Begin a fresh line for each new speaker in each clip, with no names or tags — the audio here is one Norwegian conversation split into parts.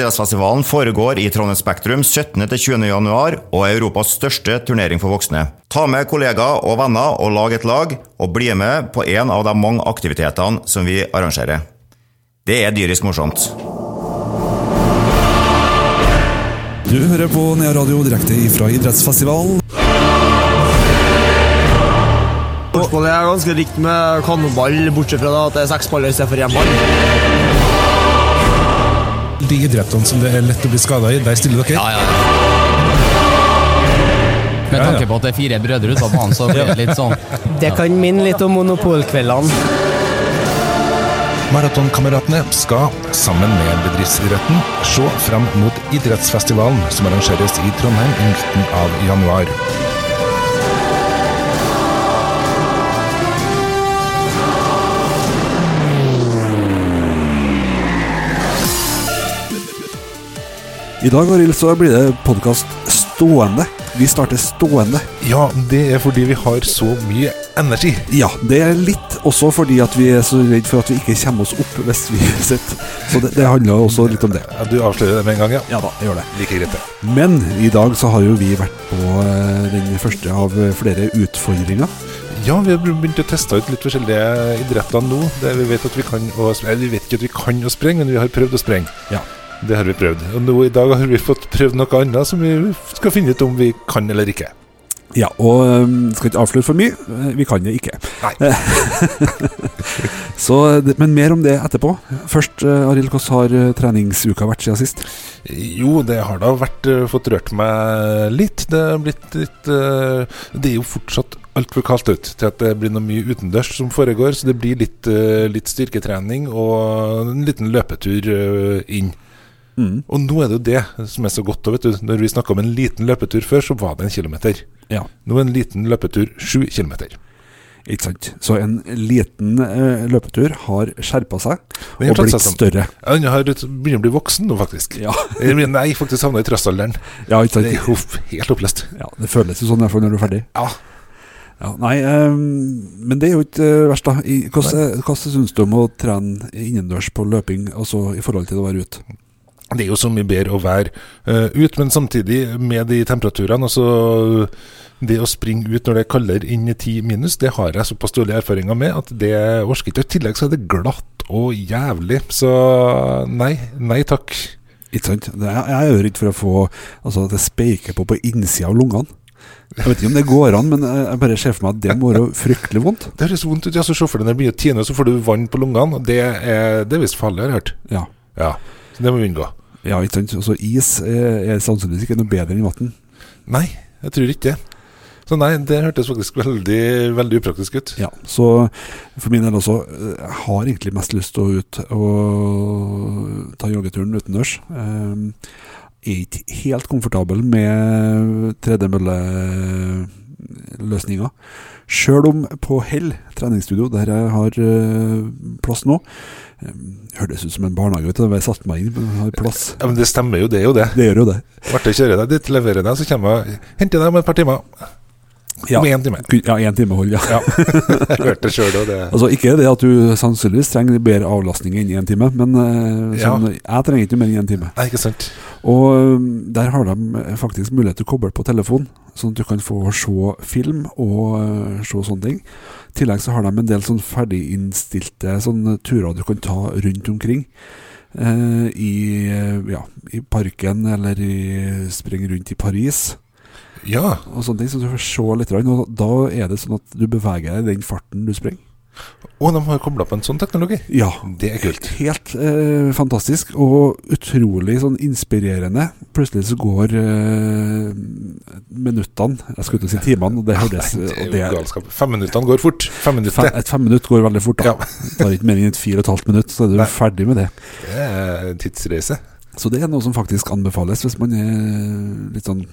Idrettsfestivalen foregår i Trondheim Spektrum 17.-20. januar og er Europas største turnering for voksne. Ta med kollegaer og venner og lag et lag, og bli med på en av de mange aktivitetene som vi arrangerer. Det er dyrisk morsomt.
Du hører på Nea Radio direkte fra idrettsfestivalen.
Spørsmålet er ganske likt med kanonball, bortsett fra da at det er seks baller istedenfor én ball.
De idrettene som det er lett å bli skada i, der stiller dere?
Ja, ja. Med
Ja, ja.
tanke på at det er fire brødre ut av banen, så blir det litt sånn
Det kan minne litt om monopolkveldene.
Maratonkameratene skal, sammen med bedriftsidretten, se fram mot idrettsfestivalen som arrangeres i Trondheim i midten av januar.
I dag Arild, så blir det podkast stående. Vi starter stående.
Ja, det er fordi vi har så mye energi.
Ja, det er litt også fordi at vi er så redd for at vi ikke kommer oss opp hvis vi sitter. Så det, det handler også litt om det.
Ja, Du avslører det med en gang, ja.
Ja da, jeg gjør det.
Like greit, det.
Men i dag så har jo vi vært på eh, den første av flere utfordringer.
Ja, vi har begynt å teste ut litt forskjellige idretter nå. Der vi vet at vi kan å spre- Eller vi vet ikke at vi kan å sprenge, men vi har prøvd å sprenge.
Ja.
Det har vi prøvd. Og nå i dag har vi fått prøvd noe annet som vi skal finne ut om vi kan eller ikke.
Ja, og eh, skal ikke avsløre for mye. Eh, Vi kan det ikke. Eh,
Nei.
Så, det- men mer om det etterpå. Først, eh, Arild, hvordan har eh, treningsuka vært siden sist?
Jo, det har da vært eh, fått rørt meg litt. Det har blitt litt eh, Det er jo fortsatt altfor kaldt ut til at det blir noe mye utendørs som foregår, så det blir litt, eh, litt styrketrening og en liten løpetur eh, inn.
Mm.
Og nå er det jo det som er så godt. da, Vet du. Når vi snakka om en liten løpetur før, så var det en kilometer.
Ja.
Nå er en liten løpetur sju kilometer.
Ikke sant. Så en liten eh, løpetur har skjerpa seg
Den har
og
tatt
blitt
seg sammen.
større.
Han har begynner å bli voksen nå, faktisk.
Ja.
Jeg mener, Nei, faktisk havna i trassalderen.
Ja, ikke
Det er
sant.
jo helt oppløst.
Ja, det føles jo sånn i hvert fall når du er ferdig.
Ja.
Ja, nei, eh, men det er jo ikke eh, verst, da. I- Hvordan eh, hvordan syns du om å trene innendørs på løping, altså i forhold til å være ute?
Det er jo så mye bedre å være eh, ut, men samtidig med de temperaturene altså Det å springe ut når det er kaldere inn i 10 minus, det har jeg såpass dårlige erfaringer med at det orker ikke. I tillegg så er det glatt og jævlig. Så nei, nei takk.
Ikke sant? Det, jeg, jeg er jo redd for å få Altså at det speiker på på innsida av lungene. Jeg vet ikke om det går an, men jeg jeg bare ser for meg at det må være fryktelig vondt.
Det høres vondt ut. ja, så Se for deg når det blir å tine, så får du vann på lungene. og Det er, det er visst farlig, har jeg hørt.
Ja,
Ja, så det må vi unngå.
ja ikke sant? Altså is er, er sannsynligvis ikke noe bedre enn vann.
Nei, jeg tror ikke det. Så nei, det hørtes faktisk veldig, veldig upraktisk ut.
Ja, så for min del også, eh, jeg har egentlig mest lyst til å ut og ta joggeturen utendørs. Eh, Jeg er ikke helt komfortabel med tredemølleløsninga. Sjøl om på Hell treningsstudio, der jeg har eh, plass nå eh, Hørtes ut som en barnehage, vet du, da jeg satte meg inn, men jeg har plass.
Ja, Men det stemmer jo, det er jo det.
Det gjør jo det.
Marte kjører deg dit, leverer deg, så kommer jeg henter deg om et par timer.
Ja.
Om én time.
Ja, én time hold, ja.
Ja. jeg hørte sjøl, og det
Altså Ikke det at du sannsynligvis trenger bedre avlastning enn én time, men eh,
Ja.
sånn, jeg trenger ikke mer enn én time.
Nei, ikke sant.
Og øhm, der har de eh, faktisk mulighet til å koble på telefon, sånn at du kan få se film og øh, se sånne ting. I tillegg så har de en del sånn ferdiginnstilte sånne turer du kan ta rundt omkring. eh, I, øh, ja, I parken, eller i, springe rundt i Paris
Ja.
og sånne ting. Så du får se litt. grann, Og da er det sånn at du beveger deg i den farten du springer.
Og de har kobla på en sånn teknologi.
Ja,
Det er kult.
Helt eh, fantastisk og utrolig sånn inspirerende. Plutselig så går eh, minuttene Jeg skulle til å si timene, og det høres
Nei, det
og
er jo galskap. Femminuttene går fort. Femminutter.
fe- Et femminutt går veldig fort, da.
Ja.
Det tar ikke mer enn et fire og et halvt minutt, så er du
Nei.
ferdig med det.
Det er en tidsreise.
Så det er noe som faktisk anbefales hvis man er litt sånn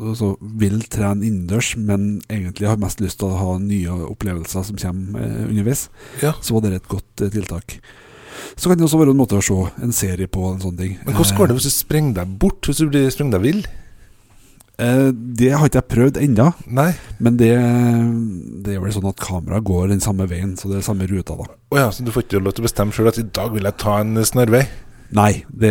altså, vil trene innendørs, men egentlig har mest lyst til å ha nye opplevelser som kommer eh, underveis.
Ja.
Så var det et godt eh, tiltak. Så kan det også være en måte å se en serie på, en sånn ting.
Men hvordan går det hvis du sprenger deg bort? Hvis du blir sprenger deg vill?
Eh, Det har ikke jeg prøvd ennå,
Nei.
men det, det er vel sånn at kameraet går den samme veien, så det er samme ruta, da.
Å ja, så du får ikke lov til å bestemme sjøl at i dag vil jeg ta en snarvei?
Nei, det,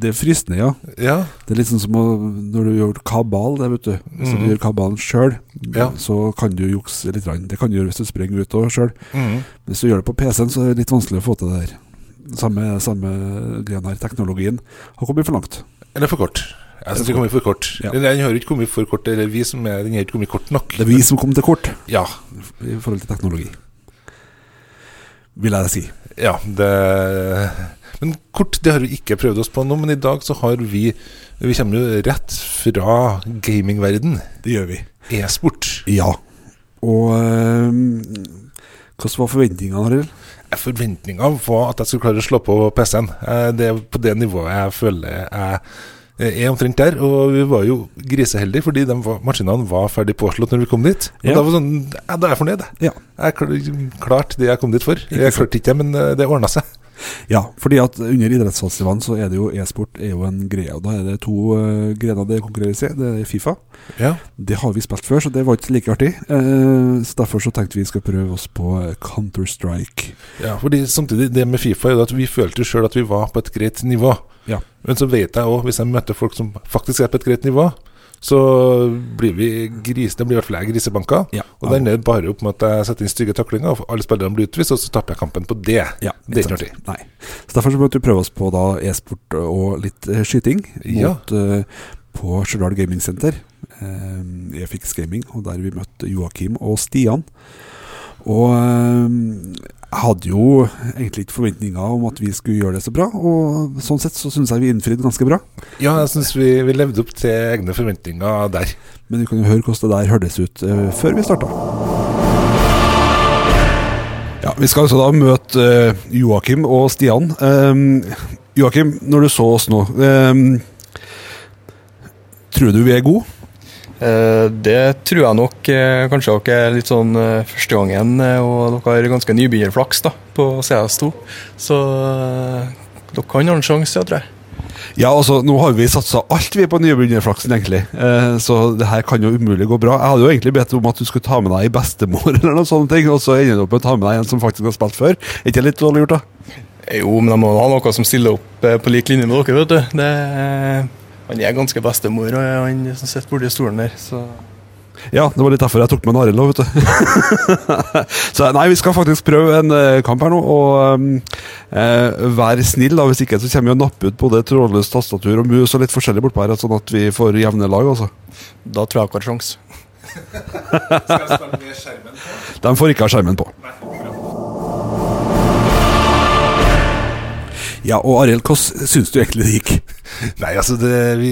det er fristende, ja.
Ja,
Det er litt sånn som å, når du gjør kabal, det vet du. Hvis du gjør kabalen sjøl,
Ja.
så kan du jukse litt. grann. Det kan du gjøre hvis du springer ut òg sjøl.
Mhm.
Hvis du gjør det på PC-en, så er det litt vanskelig å få til det her. Samme, samme greia her. Teknologien har kommet for langt.
Eller for kort. Jeg syns det kommer for kort.
Ja.
Eller den har ikke kommet for kort, eller vi som er, den har ikke kommet kort nok.
Det er vi som kom til kort
Ja.
i forhold til teknologi. Vil jeg si.
ja det, men kort det har vi ikke prøvd oss på nå, men i dag så har vi Vi kommer jo rett fra gamingverden.
Det gjør vi.
E-sport.
Ja. Og øhm, hvordan var forventningene, Arild?
Forventninga var at jeg skulle klare å slå på PC-en. Eh, Det er på det nivået jeg føler jeg eh, er omtrent der. Og vi var jo griseheldige, fordi de var, maskinene var ferdig påslått når vi kom dit. Og
Ja.
da var sånn, ja, da er jeg fornøyd, jeg.
Ja.
Jeg kl- klarte det jeg kom dit for. Jeg
sant.
klarte ikke det, men eh, det ordna seg.
Ja, fordi at under idrettsfestivalen så er det jo e-sport er jo en greie. Og da er det to øh, grener det konkurreres i. Det er Fifa.
Ja.
Det har vi spilt før, så det var ikke like artig. Eh, så derfor så tenkte vi skal prøve oss på eh, Counter-Strike.
fordi samtidig, det med Fifa er jo at vi følte jo sjøl at vi var på et greit nivå.
Ja.
Men så vet jeg òg, hvis jeg møter folk som faktisk er på et greit nivå, så blir vi gris, det blir i hvert fall jeg grisebanka.
Ja.
Og den er bare opp med at jeg setter inn stygge taklinger, og alle spillerne blir utvist, og så taper jeg kampen på det.
Ja,
det er ikke
sant.
artig.
Nei. Så derfor så måtte vi prøve oss på da e-sport og litt eh, skyting
Ja.
mot, eh, på Stjørdal Gaming Center. eh, E-Fix Gaming, og der vi møtte Joakim og Stian. Og eh, jeg hadde jo egentlig ikke forventninger om at vi skulle gjøre det så bra, og sånn sett så syns jeg vi innfridde ganske bra.
Ja, jeg syns vi, vi levde opp til egne forventninger der.
Men vi kan jo høre hvordan det der hørtes ut eh, før vi starta. Ja, vi skal altså da møte eh, Joakim og Stian. Eh, Joakim, når du så oss nå eh, Tror du vi er gode?
Eh, Det tror jeg nok eh, kanskje dere er litt sånn eh, første gangen, eh, og dere har ganske nybegynnerflaks da, på CS2. Så eh, dere kan ha en sjanse, ja, tror jeg.
Ja, altså, nå har vi satsa alt vi på nybegynnerflaksen, egentlig. Eh, så det her kan jo umulig gå bra. Jeg hadde jo egentlig bedt om at du skulle ta med deg ei bestemor, eller noen sånne ting, og så ender du opp med å ta med deg en som faktisk har spilt før. Er ikke det litt dårlig gjort, da?
Eh, Jo, men de må ha noe som stiller opp eh, på lik linje med dere, vet du. Det, eh, han er ganske bestemor, og han som sitter borti stolen der. Så.
Ja, det var litt derfor jeg tok med en Arild òg, vet du. så nei, vi skal faktisk prøve en eh, kamp her nå, og um, eh, vær snill, da. Hvis ikke så kommer vi å nappe ut både trådløst tastatur og mus og litt forskjellig bortpå her, sånn at vi får jevne lag, altså.
Da tror jeg dere har sjanse.
De får ikke ha skjermen på. Ja, og Arild, hvordan syns du egentlig det gikk?
Nei, altså det vi,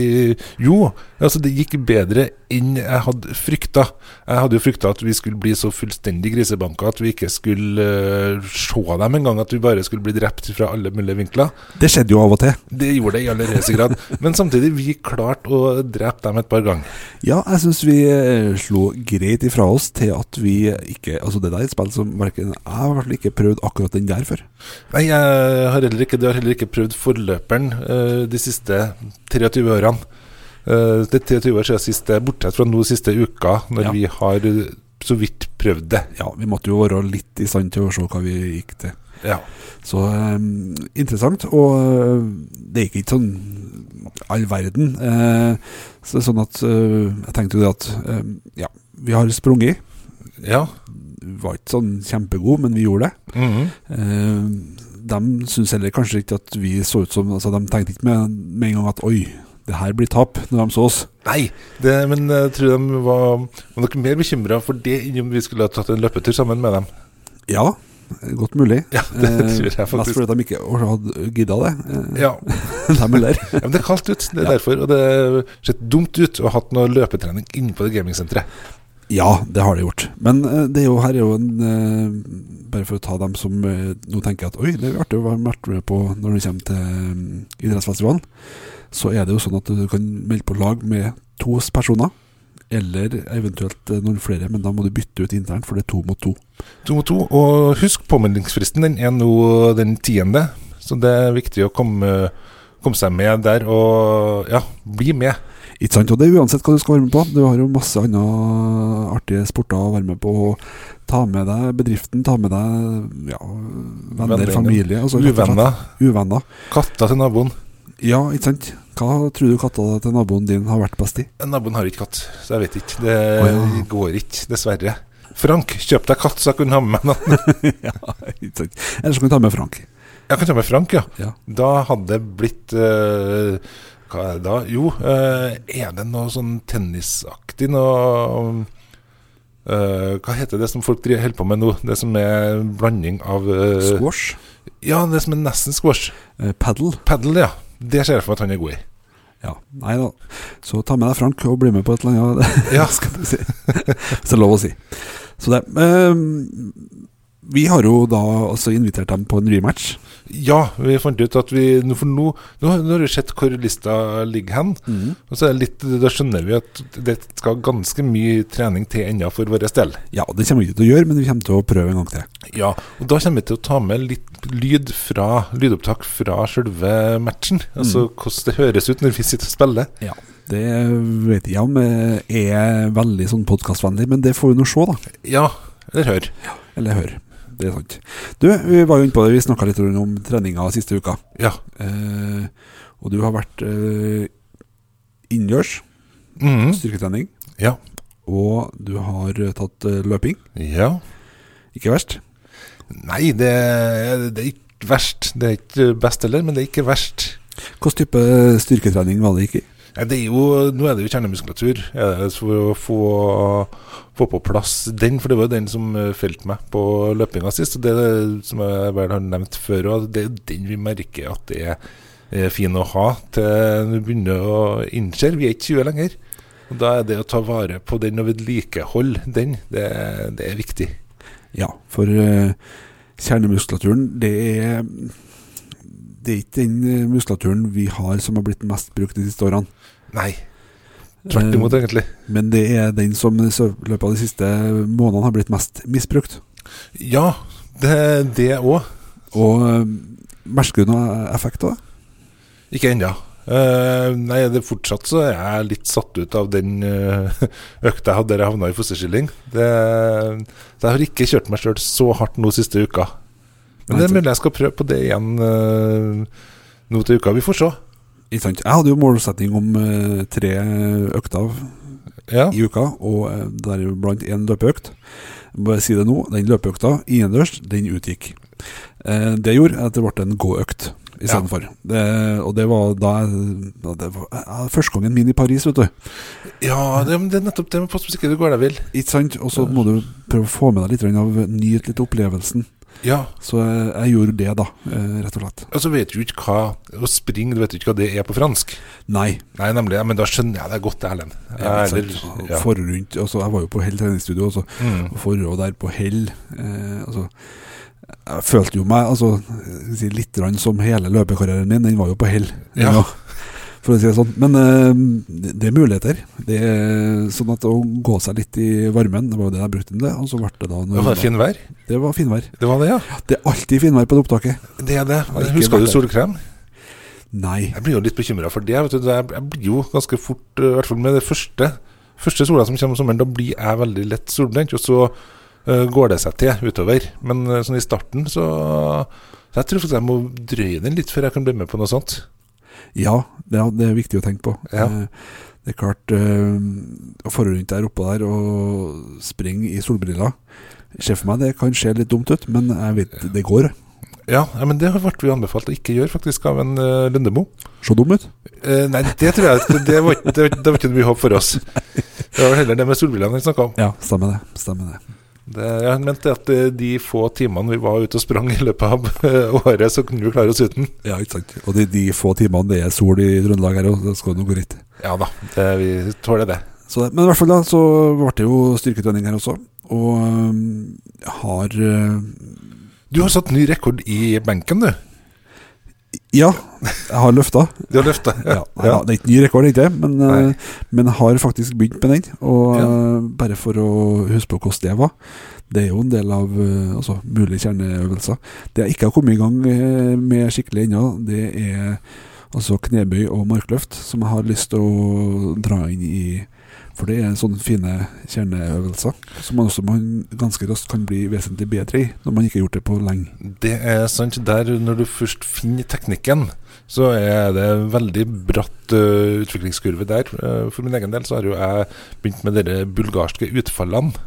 Jo, altså det gikk bedre enn jeg hadde frykta. Jeg hadde jo frykta at vi skulle bli så fullstendig grisebanka at vi ikke skulle eh, se dem engang. At vi bare skulle bli drept fra alle mulige vinkler.
Det skjedde jo av og til.
Det gjorde det i aller høyeste grad. Men samtidig, vi klarte å drepe dem et par ganger.
Ja, jeg syns vi eh, slo greit ifra oss til at vi ikke Altså, det der er et spill som verken jeg har i hvert fall ikke prøvd akkurat den der før.
Nei, jeg har heller ikke, det har heller ikke prøvd forløperen eh, de siste 23 årene. Eh, det er 23 år siden sist, eh, bortsett fra nå siste uka, når
Ja.
vi har eh, så vidt prøvd det.
Ja, vi måtte jo være litt i stand til å se hva vi gikk til.
Ja.
Så eh, interessant. Og eh, det gikk ikke sånn all verden. Eh, så det er sånn at eh, Jeg tenkte jo det at eh, Ja, vi har sprunget.
ja.
Var ikke sånn kjempegod, men vi gjorde det.
Mhm.
Eh, de syns heller kanskje ikke at vi så ut som altså De tenkte ikke med, med en gang at oi, det her blir tap, når de så oss.
Nei, det, men jeg tror de var, var nok mer bekymra for det enn om vi skulle ha tatt en løpetur sammen med dem.
Ja, godt mulig.
Ja, det tror jeg
Eh, mest
faktisk.
fordi de ikke hadde gidda det. Eh,
Ja,
dem heller.
ja, Men det er kaldt ut, det er derfor. Og det har sett dumt ut å ha hatt noe løpetrening inne på det gamingsenteret.
Ja, det har det gjort. Men eh, det er jo, her er jo en eh, Bare for å ta dem som eh, nå tenker at oi, det er artig å være vært med på når det kommer til eh, idrettsfestivalen. Så er det jo sånn at du kan melde på lag med to personer. Eller eventuelt eh, noen flere, men da må du bytte ut internt, for det er to mot to.
To mot to. Og husk, påmeldingsfristen den er nå den tiende, så det er viktig å komme, komme seg med der og ja, bli med.
Ikke sant? Og det er uansett hva du skal være med på. Du har jo masse andre artige sporter å være med på. og Ta med deg bedriften, ta med deg ja, venner,
Venner, ja.
familie. Altså, rett og slett.
Uvenner.
Uvenner.
Katter til naboen.
Ja, ikke sant? Hva tror du katta til naboen din har vært best i?
Naboen har ikke katt, så jeg vet ikke. Det
Å, ja.
går ikke, dessverre. Frank, kjøp deg katt, så jeg kunne ha med meg noen.
ja, ikke sant? Ellers kan du ta med Frank.
Jeg kan ta med Frank, ja.
Ja.
Da hadde det blitt eh, Hva er det da? Jo, eh, er det noe sånn tennisaktig noe um, eh, Hva heter det som folk driver- holder på med nå? Det som er en blanding av eh,
Squash.
Ja, det som er nesten squash.
Eh, Paddle.
Padel, ja. Det ser jeg for meg at han er god i.
Ja, nei da. Så ta med deg Frank og bli med på et eller annet.
Ja.
skal jeg si. Hvis det er lov å si. Så det. ehm, vi har jo da også invitert dem på en rematch.
Ja, vi fant ut at vi nå- For nå, nå, har- nå har vi sett hvor lista ligger hen.
Mm.
Og så er det litt, Da skjønner vi at det skal ganske mye trening til ennå for vår del.
Ja, det kommer vi ikke til å gjøre, men vi kommer til å prøve en gang til.
Ja, og da kommer vi til å ta med litt lyd fra, lydopptak fra selve matchen. Altså hvordan det høres ut når vi sitter og spiller.
Ja. Det vet jeg om eh, er veldig sånn podkastvennlig, men det får vi nå se, da.
Ja, eller hør.
Eller høre. Det er sant. Du, vi var jo inne på det, vi snakka litt om treninga siste uka.
Ja.
Eh, og du har vært eh, innendørs, Mm.
Mhm.
styrketrening.
ja.
Og du har eh, tatt eh, løping.
Ja.
Ikke verst.
Nei, det, det er ikke verst. Det er ikke best heller, men det er ikke verst.
Hvilken type eh, styrketrening var det ikke?
Nei, det er jo, nå er det jo kjernemuskulatur eh, så for å få, få på plass den. For det var jo den som eh, felte meg på løpinga sist. Og det er- som jeg vel har nevnt før også, det er jo den vi merker at det er, er fin å ha til vi begynner å innse vi er ikke 20 lenger. Og Da er det å ta vare på den og vedlikeholde den, det, det er viktig.
Ja, for eh, kjernemuskulaturen, det er det er ikke den eh, muskulaturen vi har som har blitt mest brukt de siste årene.
Nei, tvert imot, egentlig.
Men det er den som i sø- løpet av de siste månedene har blitt mest misbrukt.
Ja, det det òg.
Og eh, merker du noen effekt av det?
Ikke ennå. Eh, nei, det er fortsatt så er jeg litt satt ut av den eh, økta jeg hadde der jeg havna i fosterstilling. Det, så jeg har ikke kjørt meg sjøl så hardt nå siste uka. Men
Nei,
det er mulig jeg skal prøve på det igjen eh, nå til uka. Vi får se.
Ikke sant? Jeg hadde jo målsetting om eh, tre økter
Ja.
i uka, og eh, deriblant én løpeøkt. Jeg må Bare si det nå, den løpeøkta innendørs, den utgikk. Eh, Det gjorde at det ble en gåøkt istedenfor. Ja. Eh, Og det var da jeg da det var, jeg- Første gangen min i Paris, vet du.
ja, det, men det er nettopp det med pass på så ikke du går deg vill.
Ikke sant? Og så må du prøve å få med deg litt grann av nyt litt opplevelsen.
Ja.
Så jeg, jeg gjorde det, da, eh, rett og slett.
Og så Altså, vet du ikke hva Å springe, du vet jo ikke hva det er på fransk.
Nei.
Nei, nemlig. Ja, men da skjønner jeg det godt, Erlend.
Ja,
Jeg er
ikke sant?
litt-
Og For rundt, og så, jeg var jo på Hell treningsstudio, og så
Mm.
forhold der på hell. Eh, altså, jeg følte jo meg altså, skal jeg si, litt grann som hele løpekarrieren min, den var jo på hell.
Ja.
ennå, For å si det sånn. Men eh, det- det er muligheter. Det er sånn at å gå seg litt i varmen, det var jo det jeg brukte den til. Og så ble det da
Det
når,
var fin vær.
Det var finvær.
Det var det, ja.
Det er alltid finvær på det opptaket.
Det er det.
Har ikke
Husker du
vært der.
solkrem?
Nei.
Jeg blir jo litt bekymra for det. Vet du. Jeg jeg blir jo ganske fort, eh, i hvert fall med det første Første sola som kommer om sommeren, da blir jeg veldig lett solbrent. Og så eh, går det seg til utover. Men eh, sånn i starten, så Så jeg tror faktisk jeg må drøye den litt før jeg kan bli med på noe sånt.
Ja, det er, det er viktig å tenke på.
Ja.
Eh, Det er klart, eh, å forurente der oppe der og springe i solbriller Se for meg det kan se litt dumt ut, men jeg vet det går.
Ja, ja, men det ble vi anbefalt å ikke gjøre, faktisk, av en eh, Lundemo.
Se dum ut.
Eh, nei, det tror jeg at Det var ikke det var ikke- det var ikke mye håp for oss. Det var vel heller det med solbrillene vi snakka om.
Ja, stemmer det. Stemmer det.
Det, jeg mente at eh, de få timene vi var ute og sprang i løpet av eh, året, så kunne vi klare oss uten.
Ja, ikke sant. Og de, de få timene det er sol i Trøndelag her, og det skal nå gå greit.
Ja da, det, vi tåler det.
Så det, men i hvert fall da, så ble det jo styrketrening her også. Og øhm, har øh,
Du har satt ny rekord i benken, du.
Ja, jeg har løfta.
Du har løfta.
Ja, ja. Det er ikke ny rekord, ikke det, men, øh, men har faktisk begynt med den. Og øh, bare for å huske på hvordan det var. Det er jo en del av øh, altså, eh, mulige kjerneøvelser. Det jeg ikke har kommet i gang øh, med skikkelig ennå, det er altså knebøy og markløft, som jeg har lyst til å dra inn i For det er sånne fine kjerneøvelser som man også man ganske raskt kan bli vesentlig bedre i, når man ikke har gjort det på lenge.
Det er sant. Der, når du først finner teknikken, så er det en veldig bratt ø, utviklingskurve der. Eh, for min egen del så har jo jeg begynt med de bulgarske utfallene.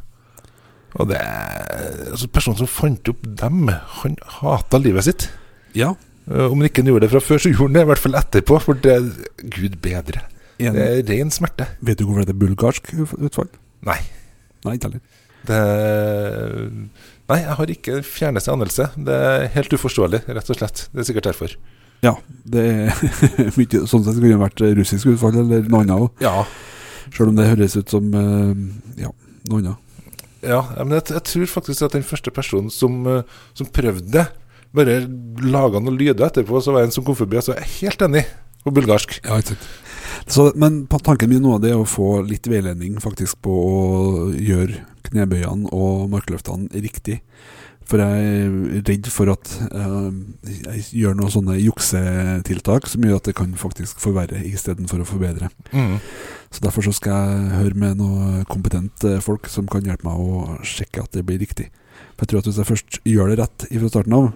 Og det er- altså Personen som fant opp dem, han hata livet sitt.
Ja,
Eh, om han ikke gjorde det fra før, så gjorde han det i hvert fall etterpå. For det Gud bedre.
en,
Det er ren smerte.
Vet du hvorfor det er bulgarsk utfall?
Nei.
Nei, ikke heller.
Det Nei, jeg har ikke fjerneste anelse. Det er helt uforståelig, rett og slett. Det er sikkert derfor.
Ja, det er mye Sånn sett kunne det vært russisk utfall eller noe annet òg,
Ja,
sjøl om det høres ut som eh, ja, noe annet.
Ja, ja, men jeg, jeg tror faktisk at den første personen som, eh, som prøvde det, bare laga noen lyder etterpå, så var det en som kom forbi og sa jeg er helt enig på bulgarsk.
Ja, ikke sant. Så, men på tanken min nå det er å få litt veiledning faktisk på å gjøre knebøyene og markløftene riktig. For jeg er redd for at eh, jeg gjør noen sånne juksetiltak som gjør at det kan faktisk forverre istedenfor å forbedre. Så derfor så skal jeg høre med noen kompetente folk som kan hjelpe meg å sjekke at det blir riktig. For jeg tror at hvis jeg først gjør det rett fra starten av,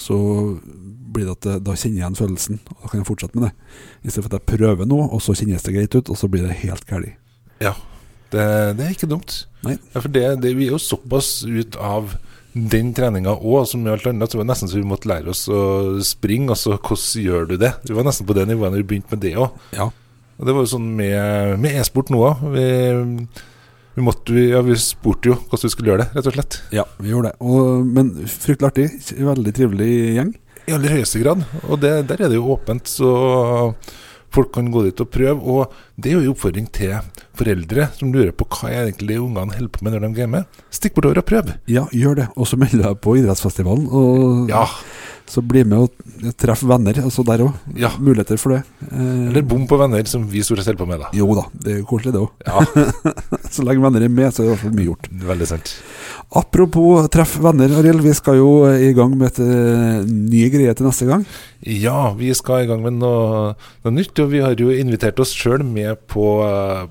så blir det at det, da kjenner jeg igjen følelsen, og da kan jeg fortsette med det. I stedet for at jeg prøver noe, og så kjennes det greit ut, og så blir det helt galt.
Ja, det, det er ikke dumt.
Nei.
Ja, for det, det, vi er jo såpass ut av den treninga òg, som i alt annet. Så det var nesten så vi måtte lære oss å springe. Altså, hvordan gjør du det? Vi var nesten på det nivået når vi begynte med det òg.
Ja.
Og det var jo sånn med, med e-sport nå òg. Vi, vi, måtte- vi, ja, vi spurte jo hvordan vi skulle gjøre det, rett og slett.
Ja, vi gjorde det. Og, men fryktelig artig. Veldig trivelig gjeng.
I aller høyeste grad. Og det, der er det jo åpent, så folk kan gå dit og prøve. Og det er jo en oppfordring til foreldre som lurer på hva er egentlig ungene holder på med når de gamer. Stikk bortover og prøv.
Ja, gjør det. Og så meld deg på idrettsfestivalen, og
Ja,
så bli med og treff venner. Altså der òg.
ja.
Muligheter for det. Eh,
Eller bom på venner, som vi stort sett holder på med, da.
Jo da, det er jo koselig det òg.
Ja,
Så lenge venner er med, så er det i hvert fall mye gjort.
veldig sant.
Apropos treff venner, Arild. Vi skal jo eh, i gang med et eh, ny greie til neste gang.
Ja, vi skal i gang med noe, noe nytt, og vi har jo invitert oss sjøl med på,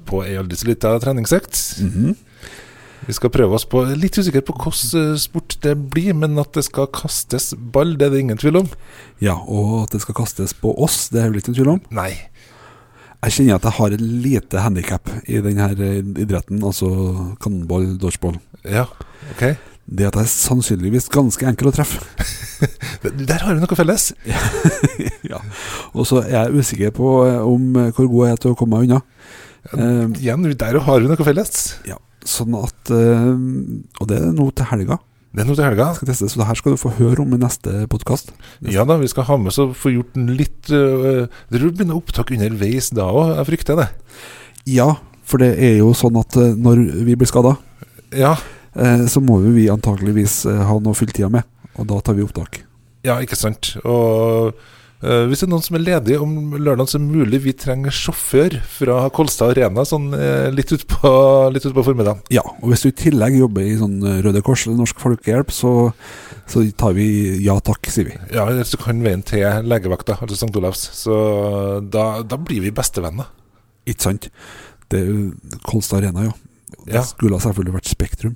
på ei aldri så lita treningsøkt. Vi skal prøve oss på Litt usikker på hvilken eh, sport det blir, men at det skal kastes ball, det er det ingen tvil om.
Ja, og at det skal kastes på oss, det er vel ikke noen tvil om.
Nei.
Jeg kjenner at jeg har et lite handikap i denne eh, idretten, altså cannonball, dodgeball.
Ja, ok.
Det at jeg er sannsynligvis ganske enkel å treffe.
Der der har vi noe felles.
Og så er jeg usikker på eh, om eh, hvor god jeg er til å komme meg unna. Eh,
Igjen, der har vi noe felles.
ja, sånn at eh, Og det er nå til helga.
Det er nå til helga.
Skal testes, så det her skal du få høre om i neste podkast.
Ja da, vi skal ha med oss og få gjort den litt øh, Det vil begynne opptak underveis da òg, jeg frykter det.
Ja, for det er jo sånn at eh, når vi blir skada,
Ja,
eh, så må jo vi antakeligvis eh, ha noe fulltida med. Og da tar vi opptak.
ja ikke sant. Og øh, hvis det er noen som er ledig om lørdag, så er det mulig vi trenger sjåfør fra Kolstad Arena sånn øh, litt utpå litt ut på formiddagen.
Ja, og hvis du i tillegg jobber i sånn eh, Røde Kors eller Norsk Folkehjelp, så, så tar vi ja takk, sier vi.
Ja, eller så kan veien til legevakta, altså St. Olavs. Så da, da blir vi bestevenner.
Ikke sant? Det er jo Kolstad Arena, ja.
Ja.
Det skulle ha selvfølgelig vært Spektrum.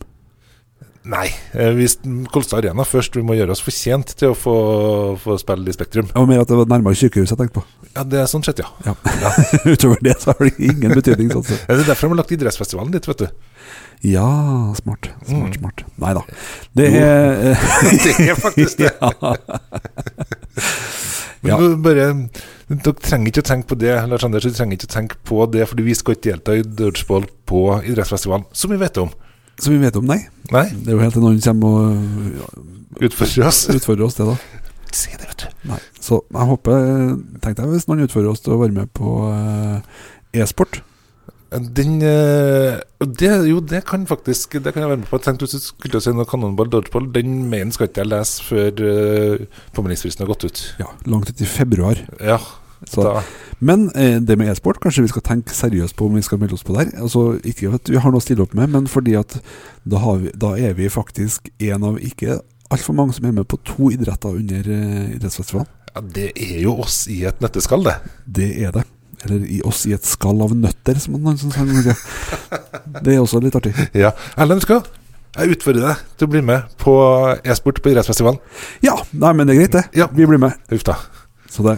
Nei, eh, hvis Kolstad Arena først, vi må gjøre oss fortjent til å få, få spille i Spektrum.
Det var mer at det var nærmere sykehuset jeg tenkte på.
Ja, det er sånn sett, ja.
Ja. Utover det så har det ingen betydning. sånn sett.
Det er derfor de har lagt idrettsfestivalen dit, vet du.
Ja, smart. Smart, smart. Nei da. Det er
Mm. Det er faktisk det.
ja.
Men
Ja.
du bare, dere trenger ikke å tenke på det, Lars Anders, du trenger ikke å tenke på det, fordi vi skal ikke delta i dodgeball på idrettsfestivalen, som vi vet om.
Som vi vet om, nei.
Nei,
Det er jo helt til noen kommer og ja,
utfordrer oss.
utfordrer oss, det, da.
Si det, vet du.
Nei. Så jeg håper Tenk deg hvis noen utfordrer oss til å være med på eh, e-sport.
Den, eh, og det, jo, det kan faktisk Det kan jeg være med på. Jeg tenkte du skulle si noe kanonball, dodgeball. Den mailen skal ikke jeg lese før eh, påmeldingsfristen har gått ut.
Ja, langt ut i februar.
Ja,
Så.
da.
Men eh, det med e-sport, kanskje vi skal tenke seriøst på om vi skal melde oss på der. Altså, ikke at vi har noe å stille opp med, men fordi at da, har vi, da er vi faktisk en av ikke altfor mange som er med på to idretter under eh, idrettsfestivalen.
Ja, det er jo oss i et nøtteskall, det.
Det er det. Eller i oss i et skall av nøtter, som han som sang. Ja. Det er også litt artig.
Ja. Erlend, husker du? Jeg utfordrer deg til å bli med på e-sport på idrettsfestivalen.
Ja, nei, men det er greit, det.
Ja.
Vi blir med.
Huff da.
Så det,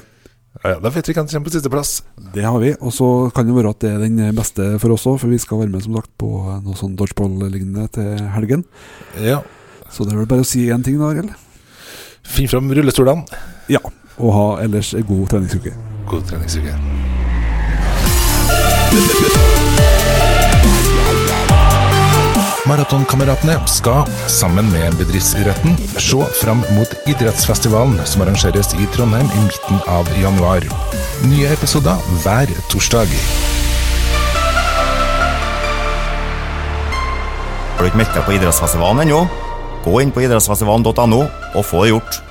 Ja, ja, da vet vi hvem som kommer på sisteplass.
det har vi. Og så kan det være at det er den beste for oss òg, for vi skal være med som sagt på noe sånn dodgeball-lignende til helgen.
Ja.
Så det er vel bare å si én ting, da, Arild.
Finn fram rullestolene.
Ja. Og ha ellers en god treningsuke.
God treningsuke. Maratonkameratene skal, sammen med bedriftsidretten, se fram mot idrettsfestivalen som arrangeres i Trondheim i midten av januar. Nye episoder hver torsdag.
Har du ikke meldt deg på idrettsfestivalen ennå? Gå inn på idrettsfestivalen.no og få det gjort.